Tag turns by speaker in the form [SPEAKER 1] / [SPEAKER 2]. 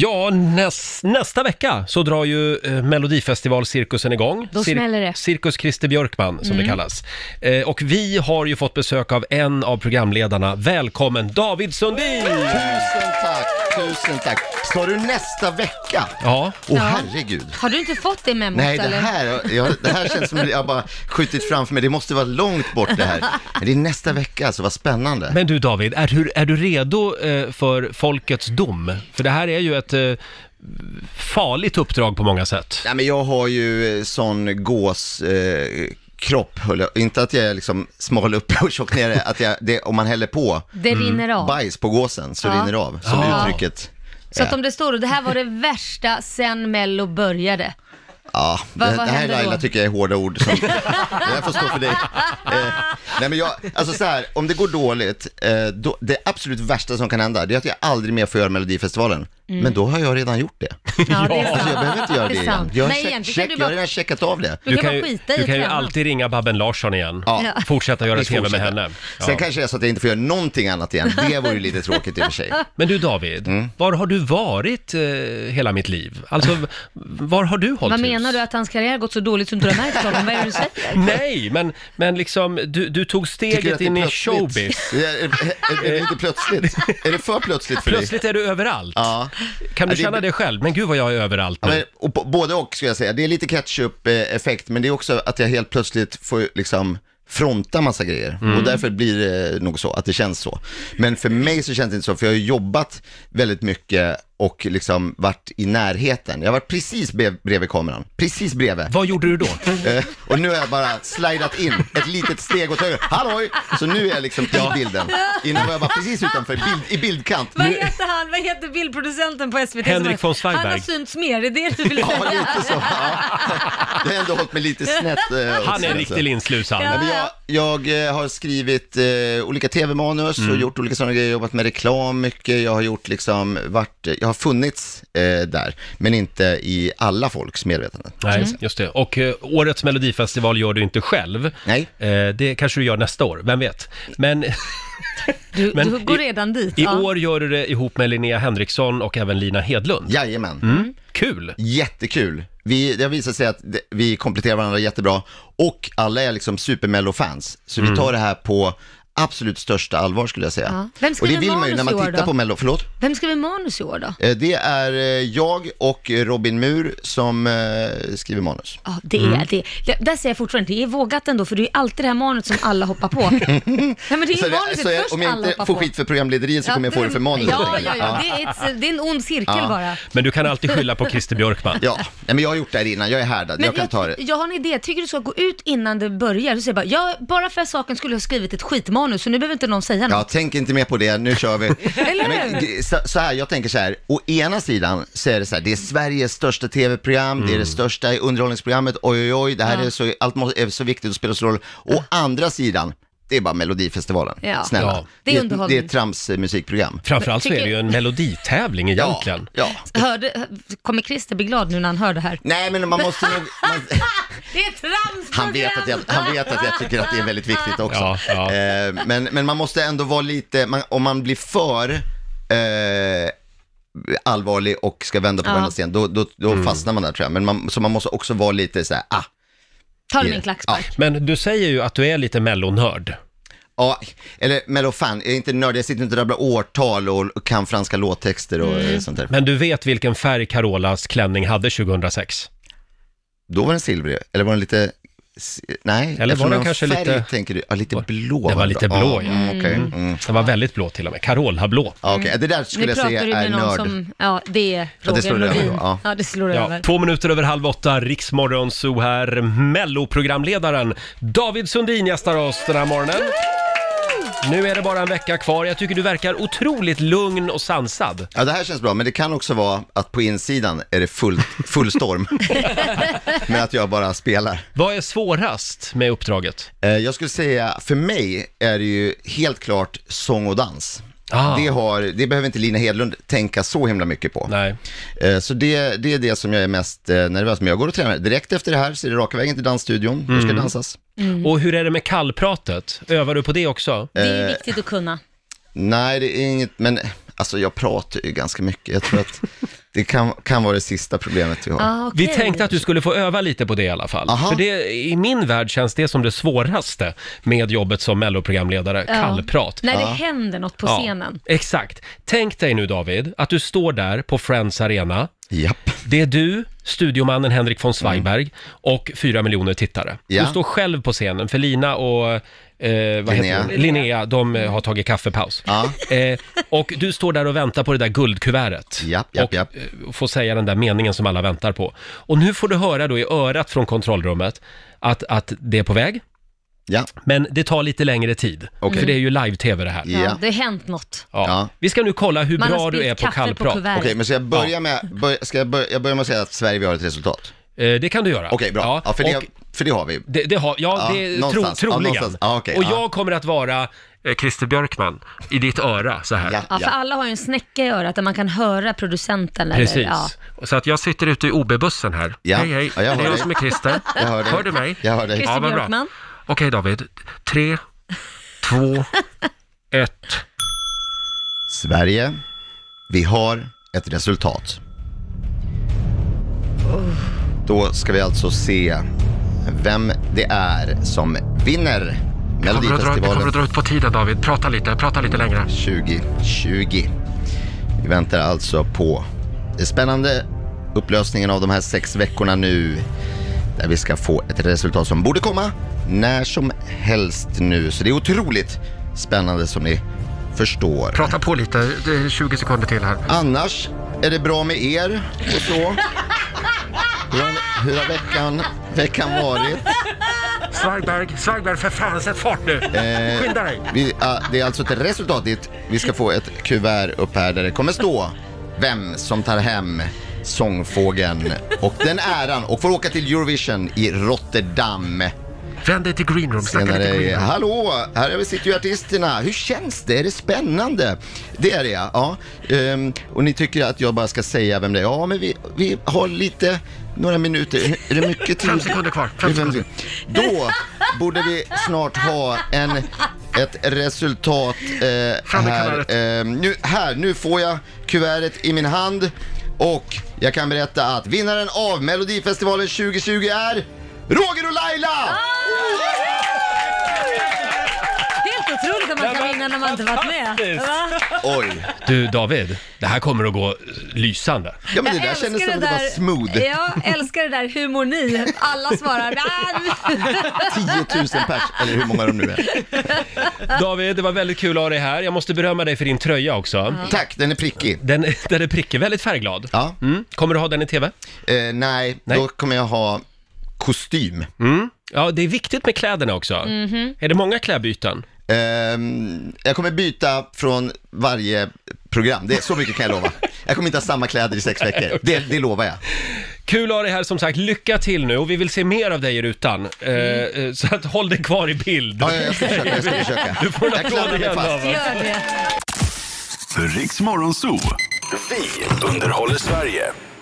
[SPEAKER 1] Ja, näs, nästa vecka så drar ju eh, Melodifestivalcirkusen igång.
[SPEAKER 2] Då smäller det. Mm.
[SPEAKER 1] Cirkus Christer Björkman, som det kallas. Eh, och vi har ju fått besök av en av programledarna. Välkommen David Sundin!
[SPEAKER 3] Tusen tack, tusen tack. Ska du nästa vecka?
[SPEAKER 1] Ja,
[SPEAKER 3] Åh
[SPEAKER 2] Ja.
[SPEAKER 3] herregud.
[SPEAKER 2] Har du inte fått det memot
[SPEAKER 3] Nej, det
[SPEAKER 2] eller?
[SPEAKER 3] här, jag, det här känns som att jag bara skjutit framför mig. Det måste vara långt bort det här. Men det är nästa vecka, alltså vad spännande.
[SPEAKER 1] men du David, är du, är du redo eh, för folkets dom? För det här är ju ett eh, farligt uppdrag på många sätt.
[SPEAKER 3] Nej, men jag har ju eh, sån gås... Eh, kropp, höll jag. inte att jag är liksom smal uppe och tjock nere, att jag, det, om man häller på
[SPEAKER 2] Det rinner av.
[SPEAKER 3] bajs på gåsen så
[SPEAKER 2] Ja.
[SPEAKER 3] rinner det av, som
[SPEAKER 1] Ja.
[SPEAKER 3] uttrycket
[SPEAKER 2] Så att om det står då, det här var det värsta sen Mello började.
[SPEAKER 3] Ja,
[SPEAKER 2] Vad-
[SPEAKER 3] det,
[SPEAKER 2] vad
[SPEAKER 3] det här
[SPEAKER 2] händer då?
[SPEAKER 3] Laila tycker jag är hårda ord. Som, det här får stå för dig. Eh, nej men jag, alltså så här, om det går dåligt, eh, då, det absolut värsta som kan hända, det är att jag aldrig mer får göra Melodifestivalen. Men då har jag redan gjort det.
[SPEAKER 2] Ja, det är sant.
[SPEAKER 3] Alltså jag behöver inte göra
[SPEAKER 2] Mm. Det är
[SPEAKER 3] det igen.
[SPEAKER 2] sant.
[SPEAKER 3] Jag har,
[SPEAKER 2] Nej,
[SPEAKER 3] check,
[SPEAKER 2] egentligen kan
[SPEAKER 3] check,
[SPEAKER 2] du
[SPEAKER 3] jag har
[SPEAKER 2] bara-
[SPEAKER 3] redan checkat av det.
[SPEAKER 2] Du, kan,
[SPEAKER 1] ju,
[SPEAKER 2] bara skita i
[SPEAKER 1] du
[SPEAKER 2] att
[SPEAKER 1] kan ju
[SPEAKER 2] träna.
[SPEAKER 1] alltid ringa Babben Larsson igen.
[SPEAKER 3] Ja.
[SPEAKER 1] Fortsätta göra
[SPEAKER 3] Vi
[SPEAKER 1] tv med
[SPEAKER 3] fortsätter.
[SPEAKER 1] henne. Ja.
[SPEAKER 3] Sen kanske det är så att jag inte får göra någonting annat igen. Det vore ju lite tråkigt i och för sig.
[SPEAKER 1] Men du David,
[SPEAKER 3] Mm.
[SPEAKER 1] var har du varit eh, hela mitt liv? Alltså, v- var har du hållit
[SPEAKER 2] Vad
[SPEAKER 1] hus?
[SPEAKER 2] menar du? Att hans karriär har gått så dåligt som du inte har märkt honom? Vad är det du säger?
[SPEAKER 1] Nej, men, men liksom, du, du tog
[SPEAKER 3] Tycker du att
[SPEAKER 1] steget
[SPEAKER 3] det är
[SPEAKER 1] in i
[SPEAKER 3] plötsligt?
[SPEAKER 1] showbiz.
[SPEAKER 3] Är, är, är, är det inte plötsligt? Är det för plötsligt för dig?
[SPEAKER 1] Plötsligt är du överallt.
[SPEAKER 3] Ja.
[SPEAKER 1] Kan du
[SPEAKER 3] Ja, det-
[SPEAKER 1] känna det själv? Men gud vad jag är överallt
[SPEAKER 3] Ja,
[SPEAKER 1] nu.
[SPEAKER 3] men, och på, både och skulle jag säga. Det är lite ketchup-effekt, men det är också att jag helt plötsligt får liksom fronta massa grejer.
[SPEAKER 1] Mm.
[SPEAKER 3] Och därför blir det nog så, att det känns så. Men för mig så känns det inte så, för jag har ju jobbat väldigt mycket och liksom varit i närheten. Jag har varit precis be- bredvid kameran, precis bredvid.
[SPEAKER 1] Vad gjorde du då?
[SPEAKER 3] Eh, och nu har jag bara slidat in ett litet steg åt höger. Halloj! Så nu är jag liksom i bilden. Innan var jag bara precis utanför, bild, i bildkant.
[SPEAKER 2] Vad heter han? Vad heter bildproducenten på SVT?
[SPEAKER 1] Henrik von Zweigberg.
[SPEAKER 2] Han har synts mer, det är det du vill
[SPEAKER 3] Ja,
[SPEAKER 2] säga.
[SPEAKER 3] lite så. Ja. Jag har ändå hållit mig lite snett. eh,
[SPEAKER 1] Han
[SPEAKER 3] åt
[SPEAKER 1] är en
[SPEAKER 3] sidan, så.
[SPEAKER 1] riktig linslusan.
[SPEAKER 2] Ja.
[SPEAKER 3] Men jag, jag eh, har skrivit eh, olika tv-manus och gjort olika sådana grejer, jobbat med reklam mycket, jag har gjort liksom, vart, jag har funnits eh, där, men inte i alla folks medvetande.
[SPEAKER 2] Mm.
[SPEAKER 1] Nej, just det. Och eh, årets melodifestival gör du inte själv.
[SPEAKER 3] Nej.
[SPEAKER 1] Eh, det kanske du gör nästa år, vem vet? Men
[SPEAKER 2] Du,
[SPEAKER 1] Men
[SPEAKER 2] du går
[SPEAKER 1] i-
[SPEAKER 2] redan dit.
[SPEAKER 1] i
[SPEAKER 2] ja.
[SPEAKER 1] år gör du det ihop med Linnea Henriksson och även Lina Hedlund.
[SPEAKER 3] Jajamän,
[SPEAKER 1] Mm. Kul!
[SPEAKER 3] jättekul. Vi, det har visat sig att det- vi kompletterar varandra jättebra och alla är liksom supermello-fans, så vi tar det här på absolut största allvar skulle jag säga.
[SPEAKER 2] Ja. Vem
[SPEAKER 3] och det
[SPEAKER 2] skriver
[SPEAKER 3] vill man ju när
[SPEAKER 2] manus i
[SPEAKER 3] man
[SPEAKER 2] år
[SPEAKER 3] tittar
[SPEAKER 2] då?
[SPEAKER 3] på mello, förlåt?
[SPEAKER 2] Vem skriver manus i år då?
[SPEAKER 3] Eh, Det är eh, jag och Robin Mur som eh, skriver manus.
[SPEAKER 2] Ja, det är
[SPEAKER 1] Mm.
[SPEAKER 2] det. Ja, Där säger jag fortfarande, det är vågat ändå, för det är ju alltid det här manuset som alla hoppar på. Nej men det är
[SPEAKER 3] Så
[SPEAKER 2] ju
[SPEAKER 3] det-
[SPEAKER 2] manuset
[SPEAKER 3] så jag-
[SPEAKER 2] först
[SPEAKER 3] om jag
[SPEAKER 2] alla hoppar
[SPEAKER 3] inte får
[SPEAKER 2] på.
[SPEAKER 3] skit för programlederiet så kommer jag få det för manuset.
[SPEAKER 2] Ja,
[SPEAKER 3] helt
[SPEAKER 2] ja,
[SPEAKER 3] enkelt.
[SPEAKER 2] ja. Det är, ett, det är en ond cirkel
[SPEAKER 3] Ja.
[SPEAKER 2] bara.
[SPEAKER 1] Men du kan alltid skylla på Christer Björkman.
[SPEAKER 3] Ja, nej, men jag har gjort det här innan, jag är härdad, jag kan ta det.
[SPEAKER 2] jag har en idé, jag tycker du ska gå ut innan det börjar. Du säger bara, jag bara för saken skulle jag ha skrivit ett skitmanus, så nu behöver inte någon säga något.
[SPEAKER 3] Ja, tänk inte mer på det, nu kör vi.
[SPEAKER 2] Eller
[SPEAKER 3] Nej, men
[SPEAKER 2] hur?
[SPEAKER 3] gre- så, så här, jag tänker så här, å ena sidan så är det så här, det är Sveriges största tv-program, det är
[SPEAKER 1] Mm.
[SPEAKER 3] det största underhållningsprogrammet, oj oj oj, det här
[SPEAKER 2] Ja.
[SPEAKER 3] är så, allt må- är så viktigt och spelar så roll. Å andra sidan, det är bara Melodifestivalen,
[SPEAKER 2] Ja.
[SPEAKER 3] snälla.
[SPEAKER 1] Ja.
[SPEAKER 2] Det är
[SPEAKER 3] Det, är, det
[SPEAKER 2] underhållning.
[SPEAKER 3] är ett tramsmusikprogram.
[SPEAKER 1] Framförallt så är
[SPEAKER 2] Tycker-
[SPEAKER 1] det ju en meloditävling egentligen.
[SPEAKER 3] Ja, ja.
[SPEAKER 2] Hörde, kommer Christer bli glad nu när han hör det här?
[SPEAKER 3] Nej, men man måste nog... Man,
[SPEAKER 2] Det är trams
[SPEAKER 3] han, vet att jag, han vet att jag tycker att det är väldigt viktigt också.
[SPEAKER 1] Ja, ja.
[SPEAKER 3] Eh, men, men man måste ändå vara lite, man, om man blir för eh, allvarlig och ska vända på
[SPEAKER 2] Ja.
[SPEAKER 3] varenda sten, då, då, då
[SPEAKER 1] Mm.
[SPEAKER 3] fastnar man där tror jag. Men man, så man måste också vara lite så här, ah,
[SPEAKER 2] Ta det med en klackspark.
[SPEAKER 1] Men du säger ju att du är lite mellonörd.
[SPEAKER 3] Ja, eller Melofan, jag är inte nörd, jag sitter inte och rabblar årtal och, och kan franska låttexter och
[SPEAKER 2] Mm.
[SPEAKER 3] eh, sånt där.
[SPEAKER 1] Men du vet vilken färg Carolas klänning hade 2006?
[SPEAKER 3] Då var den silvrig, eller var den lite, s- nej,
[SPEAKER 1] var
[SPEAKER 3] eftersom
[SPEAKER 1] den
[SPEAKER 3] har
[SPEAKER 1] kanske
[SPEAKER 3] färg,
[SPEAKER 1] lite-
[SPEAKER 3] tänker du, ja, lite blå.
[SPEAKER 1] Den var lite
[SPEAKER 3] bra.
[SPEAKER 1] blå, ja.
[SPEAKER 3] mm, okej. Mm.
[SPEAKER 1] Den var väldigt blå till och med. Carola blå.
[SPEAKER 3] Ja, okej. Det där
[SPEAKER 2] Mm. Nu
[SPEAKER 3] skulle jag
[SPEAKER 2] pratar du
[SPEAKER 3] säga
[SPEAKER 2] med
[SPEAKER 3] är
[SPEAKER 2] någon
[SPEAKER 3] nörd.
[SPEAKER 2] som, ja det är
[SPEAKER 3] Ja, det
[SPEAKER 2] Roger
[SPEAKER 3] slår över
[SPEAKER 2] Nordin.
[SPEAKER 3] då, ja. Eh.
[SPEAKER 2] Ja, det slår
[SPEAKER 1] Ja,
[SPEAKER 2] över.
[SPEAKER 1] två minuter över halv åtta, Riksmorgon så här. Melloprogramledaren David Sundin gästar oss den här morgonen. Nu är det bara en vecka kvar. Jag tycker du verkar otroligt lugn och sansad.
[SPEAKER 3] Ja, det här känns bra, men det kan också vara att på insidan är det full, full storm. men att jag bara spelar.
[SPEAKER 1] Vad är svårast med uppdraget?
[SPEAKER 3] Eh, Jag skulle säga, för mig är det ju helt klart sång och dans.
[SPEAKER 1] Ah.
[SPEAKER 3] Det, har, det behöver inte Lina Hedlund tänka så himla mycket på.
[SPEAKER 1] Nej.
[SPEAKER 3] Eh, Så det, det är det som jag är mest eh, nervös med. Jag går och tränar. Direkt efter det här så är det raka vägen till dansstudion. Då
[SPEAKER 1] Mm.
[SPEAKER 3] ska det dansas.
[SPEAKER 1] Och hur är det med kallpratet? Övar du på det också?
[SPEAKER 2] Det är viktigt att kunna.
[SPEAKER 3] Nej, det är inget, men alltså jag pratar ju ganska mycket. Jag tror att Det kan, kan vara det sista problemet vi har.
[SPEAKER 2] Ah,
[SPEAKER 1] Vi
[SPEAKER 2] okej.
[SPEAKER 1] tänkte att du skulle få öva lite på det i alla fall.
[SPEAKER 3] Aha.
[SPEAKER 1] För det, i min värld känns det som det svåraste med jobbet som melloprogramledare,
[SPEAKER 2] Ja.
[SPEAKER 1] kallprat.
[SPEAKER 2] När det händer något på scenen.
[SPEAKER 1] Ja, exakt. Tänk dig nu David, att du står där på Friends Arena.
[SPEAKER 3] Japp.
[SPEAKER 1] Det är du, studiomannen Henrik von Zweigbergg och fyra miljoner tittare.
[SPEAKER 3] Ja.
[SPEAKER 1] Du står själv på scenen för Lina och eh, vad
[SPEAKER 3] Linnea.
[SPEAKER 1] Heter hon? Linnea, de eh, har tagit kaffepaus.
[SPEAKER 3] Ja.
[SPEAKER 1] Eh, och du står där och väntar på det där guldkuvertet.
[SPEAKER 3] Japp, japp,
[SPEAKER 1] och
[SPEAKER 3] japp.
[SPEAKER 1] eh, får säga den där meningen som alla väntar på. Och nu får du höra då i örat från kontrollrummet att, att det är på väg.
[SPEAKER 3] Ja.
[SPEAKER 1] Men det tar lite längre tid,
[SPEAKER 3] Okej.
[SPEAKER 1] för det är ju live-tv det här.
[SPEAKER 2] Ja.
[SPEAKER 3] Ja.
[SPEAKER 2] det har hänt något.
[SPEAKER 1] Ja.
[SPEAKER 3] Ja.
[SPEAKER 1] Vi ska nu kolla hur
[SPEAKER 2] Man
[SPEAKER 1] bra
[SPEAKER 2] har
[SPEAKER 1] du
[SPEAKER 2] spillt
[SPEAKER 1] är på
[SPEAKER 2] kaffe på
[SPEAKER 1] kallprat.
[SPEAKER 2] kuvertet.
[SPEAKER 3] Okej, men ska jag börja med, börja, ska jag börja, jag börjar med att säga att Sverige, vi har ett resultat?
[SPEAKER 1] Eh, det kan du göra.
[SPEAKER 3] Okej, bra. Ja, för, det,
[SPEAKER 1] och
[SPEAKER 3] för det har vi.
[SPEAKER 1] det, det har, ja,
[SPEAKER 3] Ja,
[SPEAKER 1] det är tro,
[SPEAKER 3] någonstans. Ja,
[SPEAKER 1] troligen.
[SPEAKER 3] någonstans. Ja, okej,
[SPEAKER 1] och
[SPEAKER 3] ja.
[SPEAKER 1] jag kommer att vara eh, Christer Björkman i ditt öra så här.
[SPEAKER 3] Ja,
[SPEAKER 2] Ja, för
[SPEAKER 3] ja.
[SPEAKER 2] alla har ju en snäcka i örat där man kan höra producenten. Eller,
[SPEAKER 1] Precis.
[SPEAKER 2] Ja.
[SPEAKER 1] Så att jag sitter ute i OB-bussen här.
[SPEAKER 3] Ja.
[SPEAKER 1] Hej, hej.
[SPEAKER 3] Ja, jag hör
[SPEAKER 1] det är jag
[SPEAKER 3] dig.
[SPEAKER 1] som är Christer.
[SPEAKER 3] Jag hör
[SPEAKER 1] du
[SPEAKER 3] dig.
[SPEAKER 1] mig?
[SPEAKER 3] Jag hör dig.
[SPEAKER 2] Christer
[SPEAKER 1] vad bra.
[SPEAKER 2] Björkman.
[SPEAKER 1] Okej David. Tre, två, ett.
[SPEAKER 3] Sverige, vi har ett resultat. Då ska vi alltså se vem det är som vinner
[SPEAKER 1] Kommer att, dra, kommer
[SPEAKER 3] Melodifestivalen
[SPEAKER 1] att dra ut på tiden David. Prata lite, prata lite längre.
[SPEAKER 3] 2020. Vi väntar alltså på den spännande upplösningen av de här sex veckorna nu. Där vi ska få ett resultat som borde komma när som helst nu. Så det är otroligt spännande som ni förstår.
[SPEAKER 1] Prata på lite, det är 20 sekunder till här.
[SPEAKER 3] Annars är det bra med er och så. Hur har, hur har veckan, veckan varit?
[SPEAKER 1] Svagberg, Svagberg för fan, sätt fart nu!
[SPEAKER 3] Eh,
[SPEAKER 1] Skynda dig!
[SPEAKER 3] Vi, ah, det är alltså ett resultat dit. Vi ska få ett kuvert upp här där det kommer stå vem som tar hem sångfågeln och den äran och får åka till Eurovision i Rotterdam.
[SPEAKER 1] Vänd dig till greenroom, snacka lite
[SPEAKER 3] Senare,
[SPEAKER 1] greenroom.
[SPEAKER 3] hallå, här sitter ju artisterna. Hur känns det? Är det spännande? Det är det ja. ja. Ehm, och ni tycker att jag bara ska säga vem det är? Ja, men vi, vi har lite, några minuter. Är det mycket tid?
[SPEAKER 1] Fem sekunder kvar,
[SPEAKER 3] Det är
[SPEAKER 1] fem
[SPEAKER 3] fem
[SPEAKER 1] sekunder.
[SPEAKER 3] sekunder. Då borde vi snart ha en, ett resultat eh,
[SPEAKER 1] Fram med
[SPEAKER 3] här.
[SPEAKER 1] kuvertet.
[SPEAKER 3] Eh, nu, här. Nu får jag kuvertet i min hand och jag kan berätta att vinnaren av Melodifestivalen 2020 är Roger och Laila!
[SPEAKER 2] Helt otroligt att man kan vinna när man inte varit med.
[SPEAKER 1] fantastiskt.
[SPEAKER 2] Va?
[SPEAKER 3] Oj!
[SPEAKER 1] Du David, det här kommer att gå eh, lysande.
[SPEAKER 3] Ja men det
[SPEAKER 2] Jag
[SPEAKER 3] där
[SPEAKER 2] älskar
[SPEAKER 3] kändes som att det var
[SPEAKER 2] där-
[SPEAKER 3] smooth.
[SPEAKER 2] Jag älskar det där, hur mår ni? Alla svarar, "Ah."
[SPEAKER 3] 10 000 pers, eller hur många de nu är.
[SPEAKER 1] David, det var väldigt kul att ha dig här. Jag måste berömma dig för din tröja också.
[SPEAKER 3] Tack, den är prickig.
[SPEAKER 1] Den, den är prickig, väldigt färgglad.
[SPEAKER 3] Ja.
[SPEAKER 1] Mm. Kommer du ha den i TV?
[SPEAKER 3] Eh, nej,
[SPEAKER 1] Nej.
[SPEAKER 3] då kommer jag ha kostym.
[SPEAKER 1] Mm. Ja, det är viktigt med kläderna också.
[SPEAKER 3] Mhm.
[SPEAKER 1] Är det många klädbyten?
[SPEAKER 3] Ehm, jag kommer byta från varje program, det, så mycket kan jag lova. Jag kommer inte ha samma kläder i sex veckor, det, det lovar jag.
[SPEAKER 1] Kul att ha dig här som sagt. Lycka till nu och vi vill se mer av dig i rutan. Eh, eh, så att håll dig kvar i bild.
[SPEAKER 3] Mm. Ja, ja, jag ska försöka, jag ska försöka.
[SPEAKER 1] Du får en
[SPEAKER 3] Jag klamrar
[SPEAKER 1] applåd
[SPEAKER 3] mig
[SPEAKER 1] igen
[SPEAKER 3] fast.
[SPEAKER 1] David.
[SPEAKER 2] Gör det.
[SPEAKER 4] Riks Morgonzoo. Vi underhåller Sverige.